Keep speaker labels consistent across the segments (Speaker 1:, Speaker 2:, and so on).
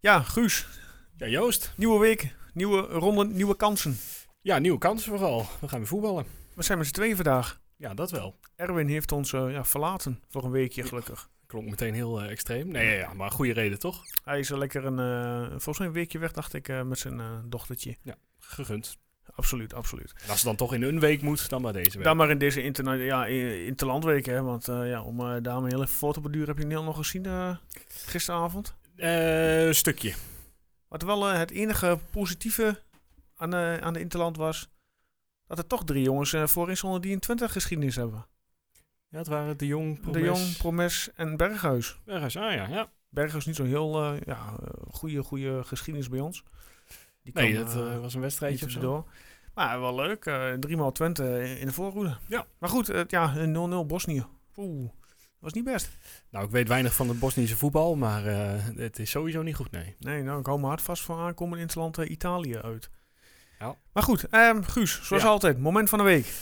Speaker 1: Ja, Guus,
Speaker 2: Ja, Joost.
Speaker 1: nieuwe week, nieuwe ronde, nieuwe kansen.
Speaker 2: Ja, nieuwe kansen vooral. We gaan weer voetballen.
Speaker 1: We zijn met z'n tweeën vandaag.
Speaker 2: Ja, dat wel.
Speaker 1: Erwin heeft ons eh, ja, verlaten voor een weekje gelukkig.
Speaker 2: Klonk meteen heel eh, extreem. Nee, ja, ja, maar goede reden toch?
Speaker 1: Hij is er lekker een, eh, volgens mij een weekje weg, dacht ik, eh, met zijn eh, dochtertje.
Speaker 2: Gegund.
Speaker 1: Absoluut, absoluut.
Speaker 2: En als het dan toch in een week moet, dan maar deze week.
Speaker 1: Dan maar in deze interna- ja, i- interlandweek, hè, want eh, ja, om eh daarmee heel even voor te beduren, heb je Neil nog gezien eh, gisteravond.
Speaker 2: Eh, Een stukje.
Speaker 1: Wat wel eh, het enige positieve aan, eh, aan de interland was, dat er toch drie jongens eh, voorin stonden die een 20 geschiedenis hebben.
Speaker 2: Ja, het waren De Jong,
Speaker 1: De Jong, Promes en Berghuis.
Speaker 2: Ergens, ah ja, ja.
Speaker 1: Berg is niet zo'n heel eh, ja, eh, goede, goede geschiedenis bij ons. Die
Speaker 2: Nee,
Speaker 1: kwam,
Speaker 2: dat
Speaker 1: eh,
Speaker 2: eh, was een
Speaker 1: niet
Speaker 2: wedstrijdje of zo.
Speaker 1: tussendoor. Maar wel leuk. eh 3 Twente in de voorhoede.
Speaker 2: Ja.
Speaker 1: Maar goed, eh, ja, een 0-0 Bosnië. Oeh, was niet best.
Speaker 2: Nou, ik weet weinig van het Bosnische voetbal, maar eh, het is sowieso niet goed, nee.
Speaker 1: Nee, nou, ik hou me hard vast voor aankomen in het land eh, Italië uit.
Speaker 2: Ja.
Speaker 1: Maar goed, ehm, Guus, zoals
Speaker 2: Ja.
Speaker 1: altijd, moment van de week.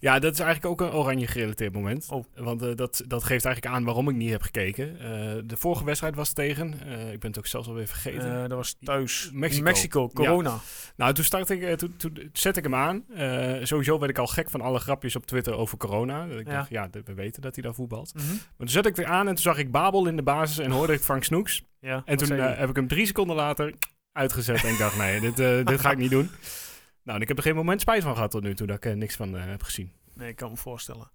Speaker 2: Ja, dat is eigenlijk ook een oranje gerelateerd moment.
Speaker 1: Oh.
Speaker 2: Want eh, dat, dat geeft eigenlijk aan waarom ik niet heb gekeken. Eh, de vorige wedstrijd was tegen. eh, ik ben het ook zelfs alweer vergeten.
Speaker 1: Eh, dat was thuis.
Speaker 2: Mexico.
Speaker 1: corona.
Speaker 2: Nou, toen, startte ik, eh, toen, toen zette ik hem aan. Eh, sowieso werd ik al gek van alle grapjes op Twitter over corona. Ik
Speaker 1: Ja.
Speaker 2: dacht, ja, d- we weten dat hij daar voetbalt.
Speaker 1: Mhm.
Speaker 2: Maar toen zette ik weer aan en toen zag ik Babel in de basis en hoorde ik Frank Snoeks.
Speaker 1: Ja,
Speaker 2: En
Speaker 1: wat
Speaker 2: toen
Speaker 1: zei je?
Speaker 2: eh, heb ik hem drie seconden later uitgezet en ik dacht, nee, dit, eh, dit ga ik niet doen. Nou, en ik heb er geen moment spijt van gehad tot nu toe dat ik eh, niks van eh, heb gezien.
Speaker 1: Nee, ik kan me voorstellen.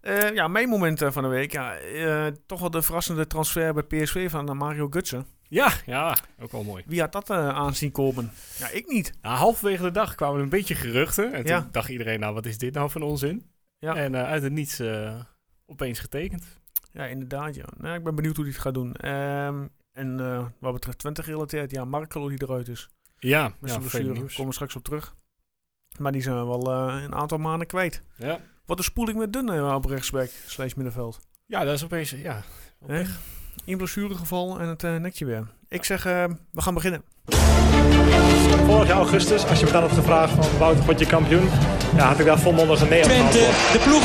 Speaker 1: Eh, ja, mijn moment eh, van de week. Ja, eh, toch wel de verrassende transfer bij PSV van eh, Mario Gutsen.
Speaker 2: Ja, ja, ook wel mooi.
Speaker 1: Wie had dat eh, aanzien komen? Ja, ik niet.
Speaker 2: Nou, halverwege de dag kwamen er een beetje geruchten. En toen
Speaker 1: Ja.
Speaker 2: dacht iedereen, nou, wat is dit nou van onzin?
Speaker 1: Ja.
Speaker 2: En eh, uit het niets eh, opeens getekend.
Speaker 1: Ja, inderdaad. Ja. Nou, ik ben benieuwd hoe hij het gaat doen. Ehm, en eh, wat betreft Twente gerelateerd, ja, Marco die eruit is.
Speaker 2: Ja,
Speaker 1: Met zijn
Speaker 2: ja, vervelend
Speaker 1: blessure.
Speaker 2: nieuws.
Speaker 1: Komen we straks op terug. Maar die zijn we wel eh, een aantal maanden kwijt.
Speaker 2: Ja.
Speaker 1: Wat een spoeling met Dunne eh, op rechtsback, slash middenveld.
Speaker 2: Ja, dat is opeens. Ja. Op
Speaker 1: Hè? Eén blessuregeval en het eh, nekje weer. Ik zeg, eh, we gaan beginnen.
Speaker 3: Vorig jaar augustus, als je me dan had gevraagd van Wouter, word je kampioen? Ja, had ik daar volmondig een nee op
Speaker 4: Twente,
Speaker 3: geantwoord.
Speaker 4: de ploeg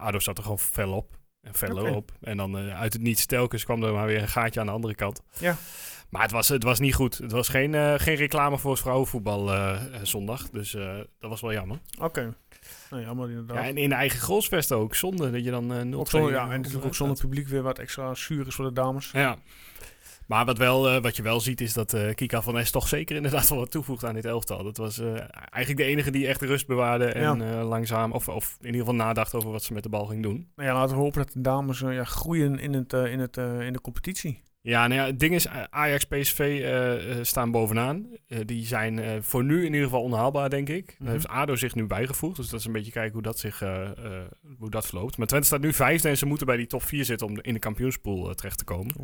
Speaker 2: ADO zat er gewoon fel op. En Venlo
Speaker 1: Oké.
Speaker 2: op. En dan eh, uit het niets telkens kwam er maar weer een gaatje aan de andere kant.
Speaker 1: Ja.
Speaker 2: Maar het was, het was niet goed. Het was geen, eh, geen reclame voor het vrouwenvoetbal eh, eh, zondag. Dus eh, dat was wel jammer.
Speaker 1: Oké. Nou, jammer inderdaad.
Speaker 2: Ja, en in de eigen goalsfest ook. Zonde dat je dan eh 0
Speaker 1: ook zonder, ja, en natuurlijk ook zonder publiek weer wat extra zuur is voor de dames.
Speaker 2: Ja. Maar wat, wel, eh, wat je wel ziet is dat eh, Kika van Es toch zeker inderdaad wel wat toevoegt aan dit elftal. Dat was eh, eigenlijk de enige die echt rust bewaarde en eh, langzaam, of, of in ieder geval nadacht over wat ze met de bal ging doen.
Speaker 1: Nou ja, laten we hopen dat de dames eh, ja, groeien in, het, eh, in, het, eh, in de competitie.
Speaker 2: Ja, nou ja, het ding is, eh, Ajax, PSV eh, eh, staan bovenaan. Eh, die zijn eh, voor nu in ieder geval onhaalbaar, denk ik.
Speaker 1: Mhm.
Speaker 2: Daar heeft ADO zich nu bijgevoegd. Dus dat is een beetje kijken hoe dat, zich, eh, eh, hoe dat verloopt. Maar Twente staat nu vijfde en ze moeten bij die top vier zitten om in de kampioenspool eh, terecht te komen.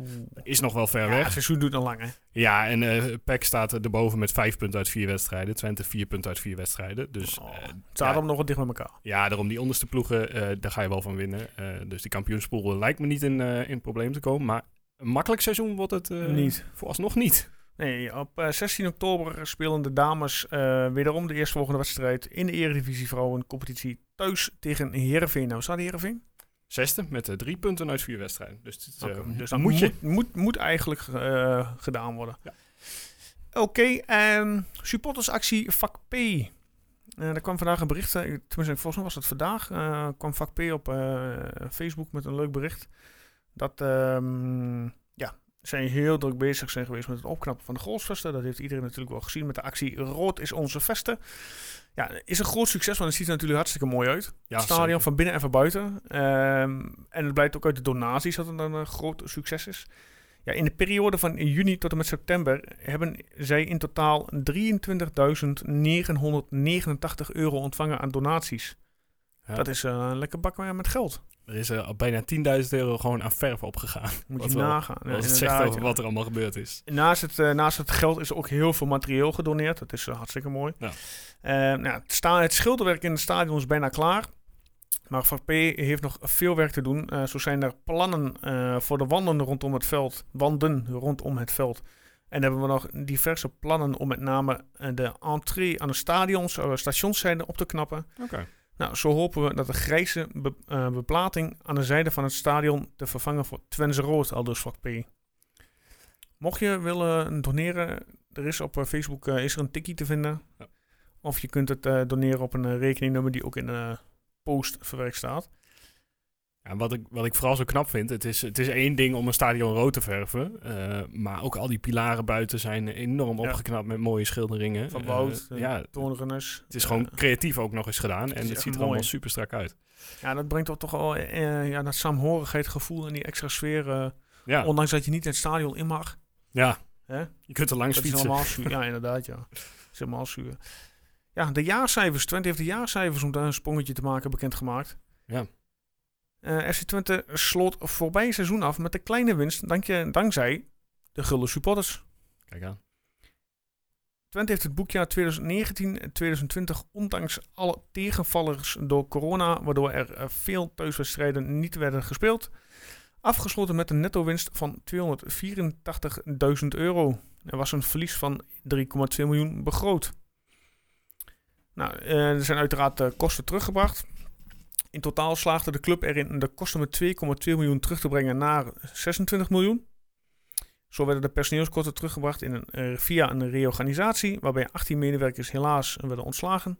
Speaker 2: Is nog wel ver
Speaker 1: Ja,
Speaker 2: weg.
Speaker 1: het seizoen doet nog lang, hè?
Speaker 2: Ja, en eh PEC staat erboven met vijf punten uit vier wedstrijden. Twente vier punten uit vier wedstrijden. Dus
Speaker 1: Oh,
Speaker 2: eh,
Speaker 1: het staat allemaal nog wat dicht bij elkaar.
Speaker 2: ja, daarom die onderste ploegen, eh, daar ga je wel van winnen. Eh, dus die kampioenspool eh, lijkt me niet in, eh in probleem te komen. Maar een makkelijk seizoen wordt het eh,
Speaker 1: Niet.
Speaker 2: vooralsnog niet.
Speaker 1: Nee, op eh, 16 oktober spelen de dames eh, wederom de eerstvolgende wedstrijd in de Eredivisie Vrouwencompetitie thuis tegen Heerenveen. Nou, staat Heerenveen?
Speaker 2: Zesde met eh, drie punten uit vier wedstrijden. Dus, het, eh,
Speaker 1: Oké, dus
Speaker 2: dan
Speaker 1: dat
Speaker 2: moet je.
Speaker 1: Moet, moet, moet eigenlijk eh, gedaan worden.
Speaker 2: Ja.
Speaker 1: Oké, ehm supportersactie vak P. Eh er kwam vandaag een bericht, eh, tenminste volgens mij was het vandaag, eh, kwam vak P op eh, Facebook met een leuk bericht. Dat ehm, ja, zij heel druk bezig zijn geweest met het opknappen van de goalsvesten. Dat heeft iedereen natuurlijk wel gezien met de actie Rood is onze vesten. Ja, is een groot succes, want het ziet er natuurlijk hartstikke mooi uit.
Speaker 2: Ja,
Speaker 1: Het stadion
Speaker 2: zeker.
Speaker 1: van binnen en van buiten. Ehm, en het blijkt ook uit de donaties dat het een eh, groot succes is. Ja, in de periode van juni tot en met september hebben zij in totaal 23.989 euro ontvangen aan donaties.
Speaker 2: Ja.
Speaker 1: Dat is eh, een lekker bak eh, met geld.
Speaker 2: Er is eh, al bijna 10.000 euro gewoon aan verf opgegaan.
Speaker 1: Moet
Speaker 2: Wat
Speaker 1: je
Speaker 2: wel-
Speaker 1: nagaan. Ja,
Speaker 2: Als het zegt
Speaker 1: inderdaad,
Speaker 2: over
Speaker 1: ja.
Speaker 2: wat er allemaal gebeurd is.
Speaker 1: Naast het, eh, naast het geld is er ook heel veel materieel gedoneerd. Dat is eh, hartstikke mooi.
Speaker 2: Ja.
Speaker 1: Eh, nou, het, sta- het schilderwerk in het stadion is bijna klaar. Maar Van P heeft nog veel werk te doen. Eh, zo zijn er plannen eh, voor de wanden rondom het veld. Wanden rondom het veld. En hebben we nog diverse plannen om met name eh, de entree aan de stadions, eh, stationszijde op te knappen.
Speaker 2: Oké.
Speaker 1: Nou, zo hopen we dat de grijze be- eh, beplating aan de zijde van het stadion te vervangen voor Twente Rood, aldus vak P. Mocht je willen doneren, er is op eh, Facebook eh, is er een tikkie te vinden.
Speaker 2: Ja.
Speaker 1: Of je kunt het eh, doneren op een eh, rekeningnummer die ook in de post verwerkt staat.
Speaker 2: Ja, wat, ik, wat ik vooral zo knap vind, het is, het is één ding om een stadion rood te verven. eh, maar ook al die pilaren buiten zijn enorm
Speaker 1: Ja.
Speaker 2: opgeknapt met mooie schilderingen.
Speaker 1: Van
Speaker 2: Eh,
Speaker 1: Wout, eh,
Speaker 2: ja,
Speaker 1: Torenus.
Speaker 2: het is gewoon creatief ook nog eens gedaan. En
Speaker 1: is echt
Speaker 2: het, ziet er
Speaker 1: mooi.
Speaker 2: allemaal super strak uit.
Speaker 1: eh, ja, dat brengt toch toch wel eh, ja, dat saamhorigheid gevoel en die extra sfeer. eh,
Speaker 2: Ja,
Speaker 1: Ondanks dat je niet het stadion in mag.
Speaker 2: ja.
Speaker 1: Hè?
Speaker 2: je kunt er langs
Speaker 1: Dat is
Speaker 2: fietsen.
Speaker 1: helemaal zuur. Ja, inderdaad, ja. Dat is helemaal zuur. Ja, de jaarcijfers. Twente heeft de jaarcijfers om daar een sprongetje te maken bekendgemaakt.
Speaker 2: Ja.
Speaker 1: Eh, FC Twente sloot voorbij het seizoen af met een kleine winst dankje, dankzij de gulle supporters.
Speaker 2: Kijk aan.
Speaker 1: Twente heeft het boekjaar 2019-2020 ondanks alle tegenvallers door corona, waardoor er eh, veel thuiswedstrijden niet werden gespeeld, afgesloten met een netto-winst van 284.000 euro. Er was een verlies van 3,2 miljoen begroot. Nou, eh, er zijn uiteraard eh, kosten teruggebracht. In totaal slaagde de club erin de kosten met 2,2 miljoen terug te brengen naar 26 miljoen. Zo werden de personeelskosten teruggebracht in een, eh, via een reorganisatie, waarbij 18 medewerkers helaas werden ontslagen.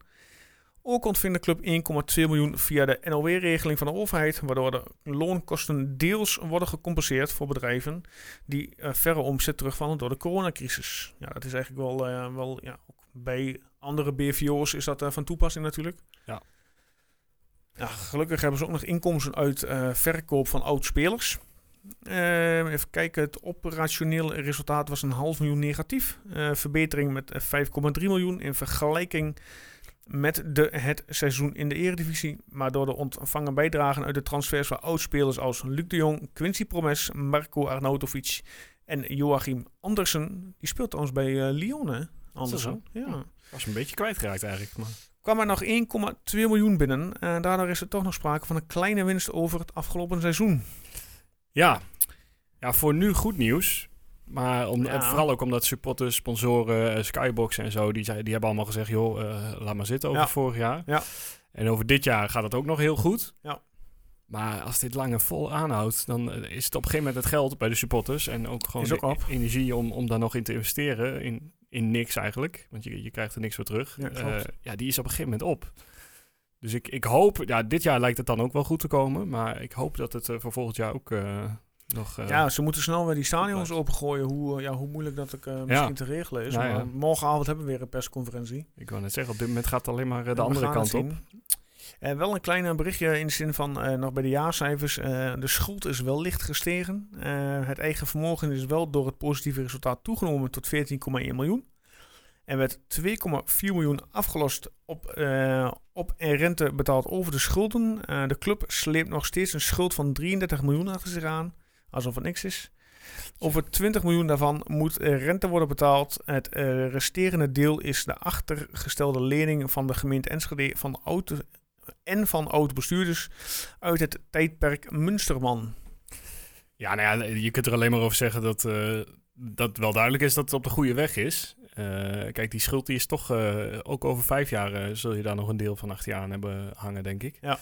Speaker 1: Ook ontving de club 1,2 miljoen via de NOW-regeling van de overheid, waardoor de loonkosten deels worden gecompenseerd voor bedrijven die eh, verre omzet terugvallen door de coronacrisis. Ja, dat is eigenlijk wel, eh, wel ja, ook bij andere BVO's is dat eh, van toepassing natuurlijk.
Speaker 2: Ja.
Speaker 1: Ja, gelukkig hebben ze ook nog inkomsten uit eh, verkoop van oud-spelers. Ehm, even kijken, het operationeel resultaat was een half miljoen negatief. Eh, verbetering met eh, 5,3 miljoen in vergelijking met de, het seizoen in de eredivisie. Maar door de ontvangen bijdragen uit de transfers van oudspelers als Luc de Jong, Quincy Promes, Marco Arnautovic en Joachim Andersen. Die speelt trouwens bij eh, Lyon, hè? Andersen. Ja.
Speaker 2: Was een beetje kwijtgeraakt eigenlijk. Maar...
Speaker 1: Kwam er nog 1,2 miljoen binnen. En daardoor is er toch nog sprake van een kleine winst over het afgelopen seizoen.
Speaker 2: Ja. ja, voor nu goed nieuws. Maar om,
Speaker 1: Ja.
Speaker 2: en vooral ook omdat supporters, sponsoren, eh, Skybox en zo, die, zei- die hebben allemaal gezegd, joh, eh, laat maar zitten over
Speaker 1: Ja.
Speaker 2: vorig jaar.
Speaker 1: Ja.
Speaker 2: En over dit jaar gaat het ook nog heel goed.
Speaker 1: Ja.
Speaker 2: Maar als dit langer vol aanhoudt, dan eh, is het op een gegeven moment het geld bij de supporters. En ook gewoon
Speaker 1: Is ook
Speaker 2: de
Speaker 1: op.
Speaker 2: energie om, om daar nog in te investeren. In, in niks eigenlijk. Want je, je krijgt er niks voor terug.
Speaker 1: Ja, klopt.
Speaker 2: Eh, ja, die is op een gegeven moment op. Dus ik, ik hoop, ja, dit jaar lijkt het dan ook wel goed te komen. Maar ik hoop dat het eh, voor volgend jaar ook eh, nog. eh,
Speaker 1: Ja, ze moeten snel weer die stadions
Speaker 2: blijft.
Speaker 1: opengooien. Hoe, eh, ja, hoe moeilijk dat ook eh, misschien te regelen is.
Speaker 2: Ja, ja.
Speaker 1: Maar morgenavond hebben we weer een persconferentie.
Speaker 2: Ik wou net zeggen, op dit moment gaat het alleen maar eh, de
Speaker 1: En we
Speaker 2: andere
Speaker 1: gaan het
Speaker 2: kant op.
Speaker 1: zien. Eh, wel een klein eh, berichtje in de zin van eh, nog bij de jaarcijfers. eh, de schuld is wel licht gestegen. Eh, het eigen vermogen is wel door het positieve resultaat toegenomen tot 14,1 miljoen. En werd 2,4 miljoen afgelost op, eh, op en rente betaald over de schulden. Eh, de club sleept nog steeds een schuld van 33 miljoen achter zich aan. Alsof het niks is. Over 20 miljoen daarvan moet eh, rente worden betaald. Het eh, resterende deel is de achtergestelde lening van de gemeente Enschede van oud en van oud-bestuurders uit het tijdperk Munsterman.
Speaker 2: Ja, nou ja, je kunt er alleen maar over zeggen dat, eh, dat wel duidelijk is dat het op de goede weg is. Eh, kijk, die schuld die is toch, eh, ook over vijf jaar eh, zul je daar nog een deel van achter je aan hebben hangen, denk ik.
Speaker 1: Ja.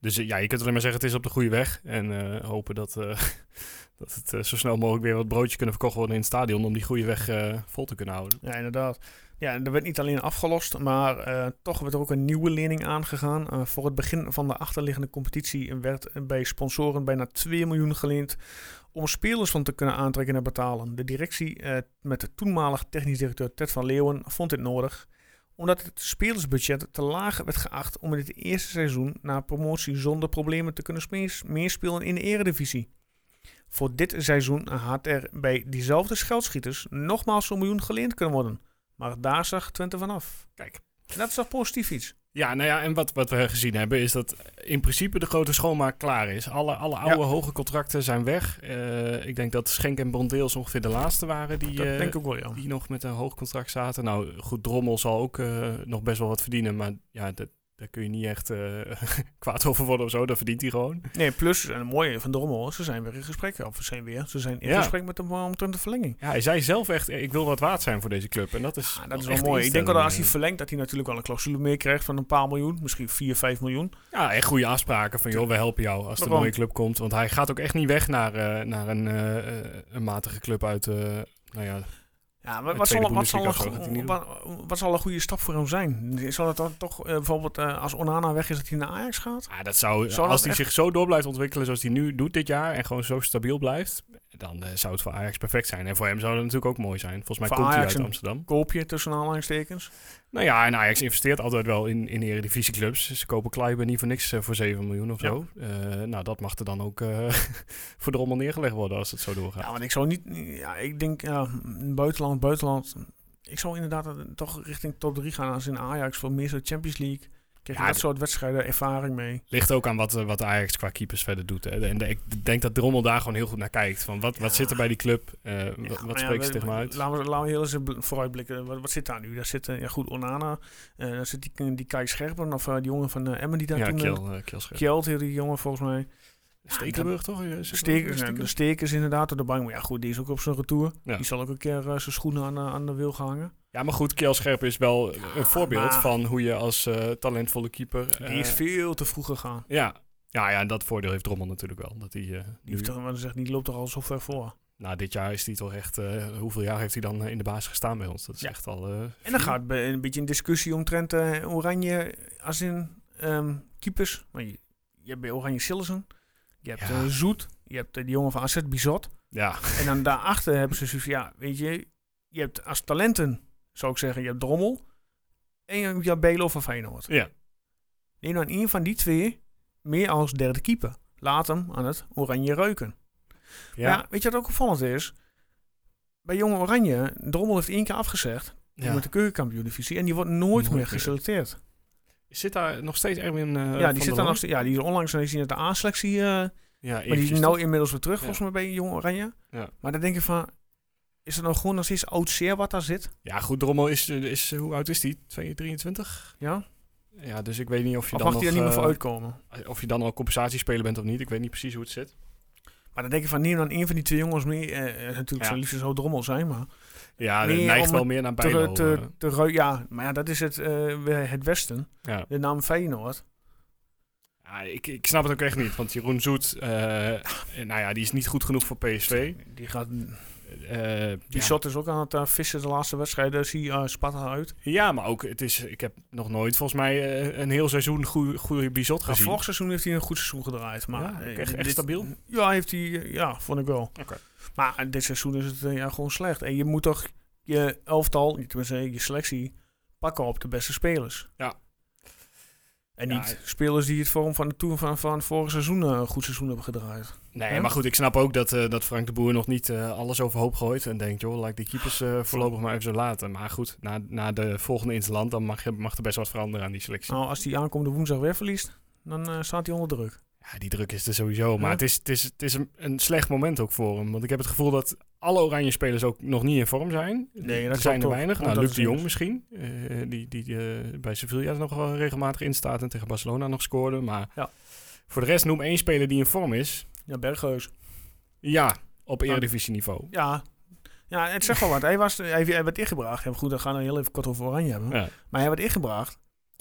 Speaker 2: Dus eh, ja, je kunt alleen maar zeggen het is op de goede weg. En eh, hopen dat, eh, dat het eh, zo snel mogelijk weer wat broodjes kunnen verkocht worden in het stadion om die goede weg eh, vol te kunnen houden.
Speaker 1: Ja, inderdaad. Ja, en er werd niet alleen afgelost, maar eh, toch werd er ook een nieuwe lening aangegaan. Eh, voor het begin van de achterliggende competitie werd bij sponsoren bijna 2 miljoen geleend om spelers van te kunnen aantrekken en betalen. De directie eh, met de toenmalig technisch directeur Ted van Leeuwen vond dit nodig omdat het spelersbudget te laag werd geacht om in het eerste seizoen na promotie zonder problemen te kunnen smees- meespelen in de eredivisie. Voor dit seizoen had er bij diezelfde scheldschieters nogmaals een miljoen geleend kunnen worden. Maar daar zag Twente vanaf.
Speaker 2: Kijk.
Speaker 1: En dat is toch positief iets?
Speaker 2: Ja, nou ja, en wat, wat we gezien hebben is dat in principe de grote schoonmaak klaar is. Alle, alle oude hoge contracten zijn weg. Eh, ik denk dat Schenk en Brondeels ongeveer de laatste waren die,
Speaker 1: dat
Speaker 2: eh,
Speaker 1: denk ik ook wel, ja.
Speaker 2: die nog met een hoog contract zaten. Nou, goed, Drommel zal ook eh, nog best wel wat verdienen, maar ja, dat, daar kun je niet echt eh, kwaad over worden of zo. Dat verdient hij gewoon.
Speaker 1: Nee, plus, een mooie van Drommel, ze zijn weer in gesprek. Of ze zijn weer, ze zijn in
Speaker 2: Ja.
Speaker 1: gesprek met hem eh, om de verlenging.
Speaker 2: Ja, hij zei zelf echt, eh, ik wil wat waard zijn voor deze club. En dat is,
Speaker 1: Ah, dat is
Speaker 2: echt eh,
Speaker 1: wel mooi. Ik denk wel dat als hij
Speaker 2: instelling.
Speaker 1: verlengt, dat hij natuurlijk wel een clausule meer krijgt van een paar miljoen. Misschien 4, 5 miljoen.
Speaker 2: Ja, echt goede afspraken van joh, we helpen jou als er een
Speaker 1: Daarom.
Speaker 2: mooie club komt. Want hij gaat ook echt niet weg naar, eh, naar een, eh, eh, een matige club uit, eh, nou ja,
Speaker 1: Ja, maar
Speaker 2: Een
Speaker 1: wat zal,
Speaker 2: tweede
Speaker 1: wat, zal een,
Speaker 2: Bundesliga of zo,
Speaker 1: go-
Speaker 2: gaat
Speaker 1: wat, wat zal een goede stap voor hem zijn? Zal het dan toch eh, bijvoorbeeld eh, als Onana weg is dat hij naar Ajax gaat?
Speaker 2: ah, dat zou,
Speaker 1: Zou dat
Speaker 2: als hij
Speaker 1: echt-
Speaker 2: zich zo door blijft ontwikkelen zoals hij nu doet dit jaar en gewoon zo stabiel blijft, dan eh, zou het voor Ajax perfect zijn. En voor hem zou dat natuurlijk ook mooi zijn. Volgens mij
Speaker 1: Voor
Speaker 2: komt
Speaker 1: Ajax
Speaker 2: hij uit
Speaker 1: een-
Speaker 2: Amsterdam.
Speaker 1: Koop je tussen aanhalingstekens?
Speaker 2: Nou ja, en Ajax investeert altijd wel in, in eredivisieclubs. Ze kopen Kleiber niet voor niks eh, voor 7 miljoen of
Speaker 1: Ja.
Speaker 2: zo. Eh, nou, dat mag er dan ook eh, voor de rommel neergelegd worden als het zo doorgaat.
Speaker 1: Ja, want ik zou niet. Ja, ik denk ja, buitenland, buitenland. Ik zou inderdaad eh, toch richting top 3 gaan als in Ajax voor meer zo Champions League. Krijg je
Speaker 2: Ja,
Speaker 1: dat
Speaker 2: d-
Speaker 1: soort wedstrijden ervaring mee.
Speaker 2: Ligt ook aan wat, eh, wat Ajax qua keepers verder doet. Hè. En de- ik denk dat Drommel daar gewoon heel goed naar kijkt. Van wat, wat zit er bij die club? Eh, wa-
Speaker 1: Ja, maar
Speaker 2: wat
Speaker 1: ja,
Speaker 2: spreekt ze
Speaker 1: we-
Speaker 2: tegen me uit?
Speaker 1: Laten we, laten we heel eens bl- vooruitblikken. Wat, wat zit daar nu? Daar zit, eh, ja goed, Onana. eh, daar zit die, die Kai Scherpen of eh, die jongen van eh, Emmen die daar
Speaker 2: Ja,
Speaker 1: toen... eh,
Speaker 2: Kiel, eh, Kiel Scherp.
Speaker 1: Kjeld heette die jongen volgens mij.
Speaker 2: Stekelenburg toch? Eh, is het wel?
Speaker 1: Stekers, de
Speaker 2: Stekelenburg?
Speaker 1: stekers inderdaad door de bank. Maar ja, goed, die is ook op zijn retour.
Speaker 2: Ja.
Speaker 1: Die zal ook een keer eh, zijn schoenen aan, eh, aan de wil gaan hangen.
Speaker 2: Ja, maar goed, Kiel Scherp is wel een voorbeeld
Speaker 1: maar-
Speaker 2: van hoe je als eh, talentvolle keeper... eh,
Speaker 1: die is veel te vroeg gegaan.
Speaker 2: ja. Ja, ja, en dat voordeel heeft Drommel natuurlijk wel. Dat hij, eh,
Speaker 1: Die, heeft
Speaker 2: nu-
Speaker 1: toch, maar dan zegt, die loopt toch al zo ver voor.
Speaker 2: nou, dit jaar is hij toch echt... eh, hoeveel jaar heeft hij dan eh, in de baas gestaan bij ons? Dat is
Speaker 1: Ja.
Speaker 2: echt al... eh,
Speaker 1: En dan gaat be- een beetje een discussie omtrent eh, Oranje als in ehm, keepers. Maar je, je hebt bij Oranje Sillessen, je hebt
Speaker 2: Ja.
Speaker 1: eh, Zoet, je hebt eh, die jongen van AZ Bizot.
Speaker 2: ja,
Speaker 1: En dan daarachter hebben ze zoiets van, ja, weet je, je hebt als talenten, zou ik zeggen, je hebt Drommel en je hebt Jabelo van Feyenoord.
Speaker 2: ja.
Speaker 1: Neem dan een van die twee meer als derde keeper. Laat hem aan het oranje ruiken. Ja.
Speaker 2: Ja,
Speaker 1: weet je wat ook opvallend is? Bij Jonge Oranje, Drommel heeft één keer afgezegd
Speaker 2: ja.
Speaker 1: met de keukenkampioen-divisie en die wordt nooit,
Speaker 2: Nooit
Speaker 1: meer
Speaker 2: meer.
Speaker 1: geselecteerd.
Speaker 2: Zit daar nog steeds Erwin eh,
Speaker 1: ja,
Speaker 2: van
Speaker 1: die
Speaker 2: der
Speaker 1: zit dan
Speaker 2: Hoorn?
Speaker 1: nog, ste- ja, die is onlangs is hij naar de A-selectie, eh,
Speaker 2: Ja,
Speaker 1: maar die
Speaker 2: eventjes
Speaker 1: is nou inmiddels weer terug
Speaker 2: Ja.
Speaker 1: volgens mij bij Jonge Oranje.
Speaker 2: Ja.
Speaker 1: Maar dan denk je van, is er nou gewoon nog steeds oud zeer wat daar zit?
Speaker 2: Ja, goed, Drommel is, is hoe oud is die? 2, 23?
Speaker 1: Ja?
Speaker 2: Ja, dus ik weet niet of je
Speaker 1: Of
Speaker 2: dan
Speaker 1: mag die er
Speaker 2: nog,
Speaker 1: niet meer
Speaker 2: eh,
Speaker 1: voor uitkomen?
Speaker 2: of je dan al compensatiespeler bent of niet. Ik weet niet precies hoe het zit.
Speaker 1: Maar dan denk je van, neem dan één van die twee jongens mee. eh, eh, natuurlijk
Speaker 2: Ja.
Speaker 1: zou liefst zo Drommel zijn, maar...
Speaker 2: Ja,
Speaker 1: Meer
Speaker 2: het
Speaker 1: om
Speaker 2: neigt wel meer naar Bijlo.
Speaker 1: te, te,
Speaker 2: eh.
Speaker 1: te rui- ja, maar ja, dat is het, eh, we- het Westen.
Speaker 2: ja.
Speaker 1: De naam Feyenoord.
Speaker 2: Ja, ik, ik snap het ook echt niet. Want Jeroen Zoet, eh, nou ja, die is niet goed genoeg voor PSV.
Speaker 1: Die gaat, die
Speaker 2: Eh, ja.
Speaker 1: shot is ook aan het eh, vissen de laatste wedstrijden. Zie je eh, Sparta uit.
Speaker 2: Ja, maar ook, het is, ik heb nog nooit volgens mij eh, een heel seizoen goede, goede bizot
Speaker 1: Maar
Speaker 2: gezien.
Speaker 1: vorig seizoen heeft hij een goed seizoen gedraaid. Maar
Speaker 2: Ja,
Speaker 1: eh,
Speaker 2: echt, echt
Speaker 1: dit-
Speaker 2: stabiel.
Speaker 1: Ja, heeft hij, eh, ja, vond ik wel.
Speaker 2: Oké.
Speaker 1: Maar eh, dit seizoen is het eh, ja, gewoon slecht. En je moet toch je elftal, tenminste je selectie, pakken op de beste spelers.
Speaker 2: Ja.
Speaker 1: En
Speaker 2: Ja,
Speaker 1: niet
Speaker 2: eh.
Speaker 1: spelers die het vorm van de Tour van, van vorig seizoen eh, een goed seizoen hebben gedraaid.
Speaker 2: Nee,
Speaker 1: Hè?
Speaker 2: maar goed, ik snap ook dat, eh, dat Frank de Boer nog niet eh, alles overhoop gooit. En denkt, joh, laat ik die keepers eh, voorlopig maar even zo laten. Maar goed, na, na de volgende Interland, dan mag, je- mag er best wat veranderen aan die selectie.
Speaker 1: Nou, als die aankomende woensdag weer verliest, dan eh, staat hij onder druk.
Speaker 2: Ja, die druk is er sowieso. Maar
Speaker 1: Ja.
Speaker 2: het is, het is, het is een, een slecht moment ook voor hem. Want ik heb het gevoel dat alle oranje spelers ook nog niet in vorm zijn.
Speaker 1: Nee, dat
Speaker 2: er zijn
Speaker 1: klopt
Speaker 2: er
Speaker 1: ook.
Speaker 2: weinig. Nou,
Speaker 1: Dat
Speaker 2: Luc
Speaker 1: is
Speaker 2: de Jong
Speaker 1: anders.
Speaker 2: misschien. eh, die die eh, bij Sevilla er nog wel regelmatig in staat en tegen Barcelona nog scoorde. Maar
Speaker 1: Ja.
Speaker 2: voor de rest noem één speler die in vorm is.
Speaker 1: Ja, Bergheus.
Speaker 2: Ja, op
Speaker 1: Ja.
Speaker 2: eredivisieniveau.
Speaker 1: Ja, ja het zegt wel wat. Hij, was, hij, hij werd ingebracht. Ja, goed, dan gaan we heel even kort over Oranje hebben.
Speaker 2: Ja.
Speaker 1: Maar hij werd ingebracht.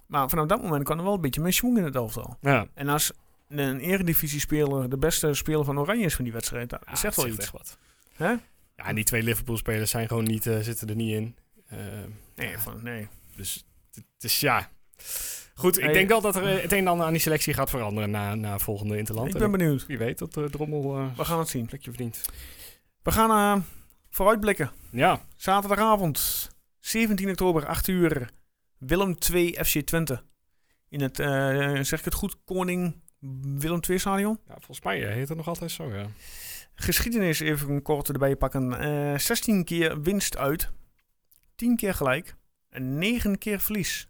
Speaker 1: Maar vanaf dat moment kwam er wel een beetje meer schwung in het elftal.
Speaker 2: Ja.
Speaker 1: En als een eredivisie-speler de beste speler van Oranje is van die wedstrijd, dat
Speaker 2: Ja,
Speaker 1: zegt
Speaker 2: het
Speaker 1: wel iets.
Speaker 2: echt wat.
Speaker 1: Hè?
Speaker 2: Ja, en die twee Liverpool-spelers zijn gewoon niet, eh, zitten er niet in. Eh,
Speaker 1: Nee, van, nee.
Speaker 2: dus het het is ja. Goed, ik
Speaker 1: Hey.
Speaker 2: denk wel dat er eh, het een en ander aan die selectie gaat veranderen na, na volgende Interland.
Speaker 1: Ik
Speaker 2: En
Speaker 1: ben benieuwd.
Speaker 2: Wie weet dat de Drommel eh
Speaker 1: We gaan het zien.
Speaker 2: plekje verdient.
Speaker 1: We gaan eh, vooruitblikken.
Speaker 2: Ja,
Speaker 1: Zaterdagavond, 17 oktober, 8 uur. Willem 2 FC Twente. In het, eh, zeg ik het goed, Koning Willem 2 stadion.
Speaker 2: ja volgens mij eh, heet het nog altijd zo, ja.
Speaker 1: Geschiedenis even kort erbij pakken. Eh, 16 keer winst uit. 10 keer gelijk. En 9 keer verlies.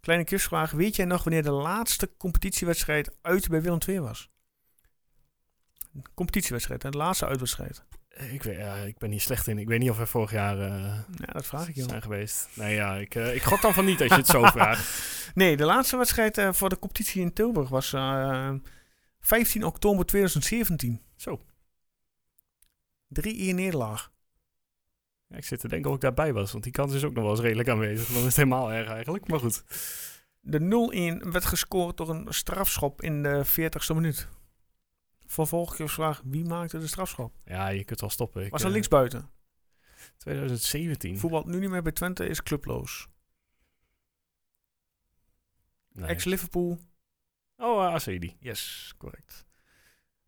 Speaker 1: Kleine quizvraag. Weet jij nog wanneer de laatste competitiewedstrijd uit bij Willem II was? Competitiewedstrijd, hè? de laatste uitwedstrijd.
Speaker 2: Eh, Ik, weet, ja, ik ben hier slecht in. Ik weet niet of we vorig jaar eh,
Speaker 1: Ja, dat vraag ik je wel.
Speaker 2: zijn geweest. Nee, ja, ik, eh, ik gok dan van niet als je het zo vraagt.
Speaker 1: Nee, de laatste wedstrijd eh, voor de competitie in Tilburg was eh, 15 oktober 2017.
Speaker 2: Zo.
Speaker 1: 3-1 nederlaag.
Speaker 2: Ja, ik zit te denken of ik daarbij was, want die kans is ook nog wel eens redelijk aanwezig. Dan is het helemaal erg eigenlijk, maar goed.
Speaker 1: De 0-1 werd gescoord door een strafschop in de 40ste minuut. Vervolgens vraag wie maakte de strafschop?
Speaker 2: Ja, je kunt wel stoppen. Ik,
Speaker 1: Was
Speaker 2: eh,
Speaker 1: dat linksbuiten?
Speaker 2: 2017.
Speaker 1: Voetbalt nu niet meer bij Twente, is clubloos.
Speaker 2: Nee.
Speaker 1: Ex-Liverpool.
Speaker 2: Oh, uh, Acedi.
Speaker 1: Yes, correct.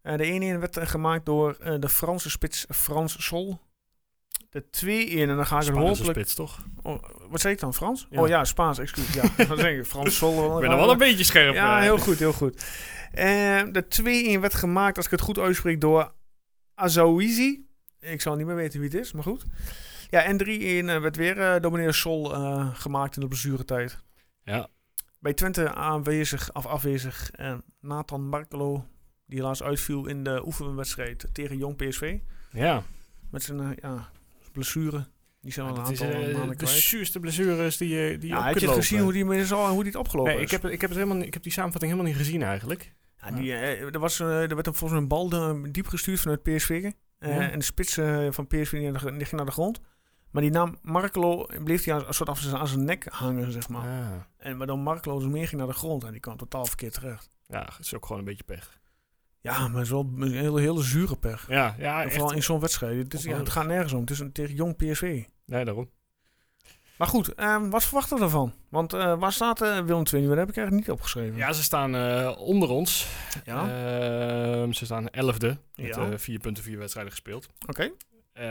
Speaker 1: Eh, de 1-1 werd eh, gemaakt door eh, de Franse spits Frans Sol. De 2-1, en dan ga ik het
Speaker 2: Spaanse
Speaker 1: hopelijk...
Speaker 2: spits, toch?
Speaker 1: Oh, wat zei ik dan, Frans?
Speaker 2: Ja.
Speaker 1: Oh ja, Spaans, excuus. Ja, dan denk ik Frans Sol.
Speaker 2: Ik ben er wel een beetje scherp.
Speaker 1: Ja,
Speaker 2: eh.
Speaker 1: heel goed, heel goed. Eh, de 2-1 werd gemaakt, als ik het goed uitspreek, door Azouizi. Ik zal niet meer weten wie het is, maar goed. Ja, en 3-1 eh, werd weer eh, door meneer Sol eh, gemaakt in de blessuretijd.
Speaker 2: Ja.
Speaker 1: Bij Twente aanwezig, af afwezig, eh, Nathan Markelo, die helaas uitviel in de oefenwedstrijd tegen Jong PSV.
Speaker 2: ja.
Speaker 1: Met zijn eh, ja, blessure. Die zijn al een
Speaker 2: het is
Speaker 1: aantal
Speaker 2: eh,
Speaker 1: maanden
Speaker 2: de
Speaker 1: kwijt.
Speaker 2: zuurste blessures die je die je
Speaker 1: Ja,
Speaker 2: op
Speaker 1: heb
Speaker 2: kunt
Speaker 1: je het
Speaker 2: lopen.
Speaker 1: gezien hoe die, met z'n allen- hoe die het opgelopen
Speaker 2: Nee, ik
Speaker 1: is?
Speaker 2: heb, ik, heb het helemaal, niet- ik heb die samenvatting helemaal niet gezien eigenlijk.
Speaker 1: Ja, die, eh, er, was, eh, er werd hem volgens mij een bal de- diep gestuurd vanuit PSV. Eh,
Speaker 2: Ja.
Speaker 1: En de spits eh, van PSV die naar de, gr- die ging naar de grond. Maar die naam Markelo bleef hij aan, een soort af aan zijn nek hangen, zeg maar.
Speaker 2: Ah.
Speaker 1: En waardoor Markelo dus meer ging naar de grond. En die kwam totaal verkeerd terecht.
Speaker 2: Ja, het is ook gewoon een beetje pech.
Speaker 1: Ja, maar het is wel een hele, hele zure pech.
Speaker 2: Ja, ja
Speaker 1: En
Speaker 2: echt.
Speaker 1: vooral in zo'n wedstrijd. Het, is, ja, het gaat nergens om. Het is een, tegen jong PSV.
Speaker 2: Nee, daarom.
Speaker 1: Maar goed, eh, wat verwachten we ervan? Want eh, waar staat eh, Willem II nu? Dat heb ik eigenlijk niet opgeschreven.
Speaker 2: Ja, ze staan eh, onder ons.
Speaker 1: Ja?
Speaker 2: Ehm, ze staan elfde. Met
Speaker 1: Ja.
Speaker 2: eh, vier punten, vier wedstrijden gespeeld.
Speaker 1: Oké.
Speaker 2: Eh,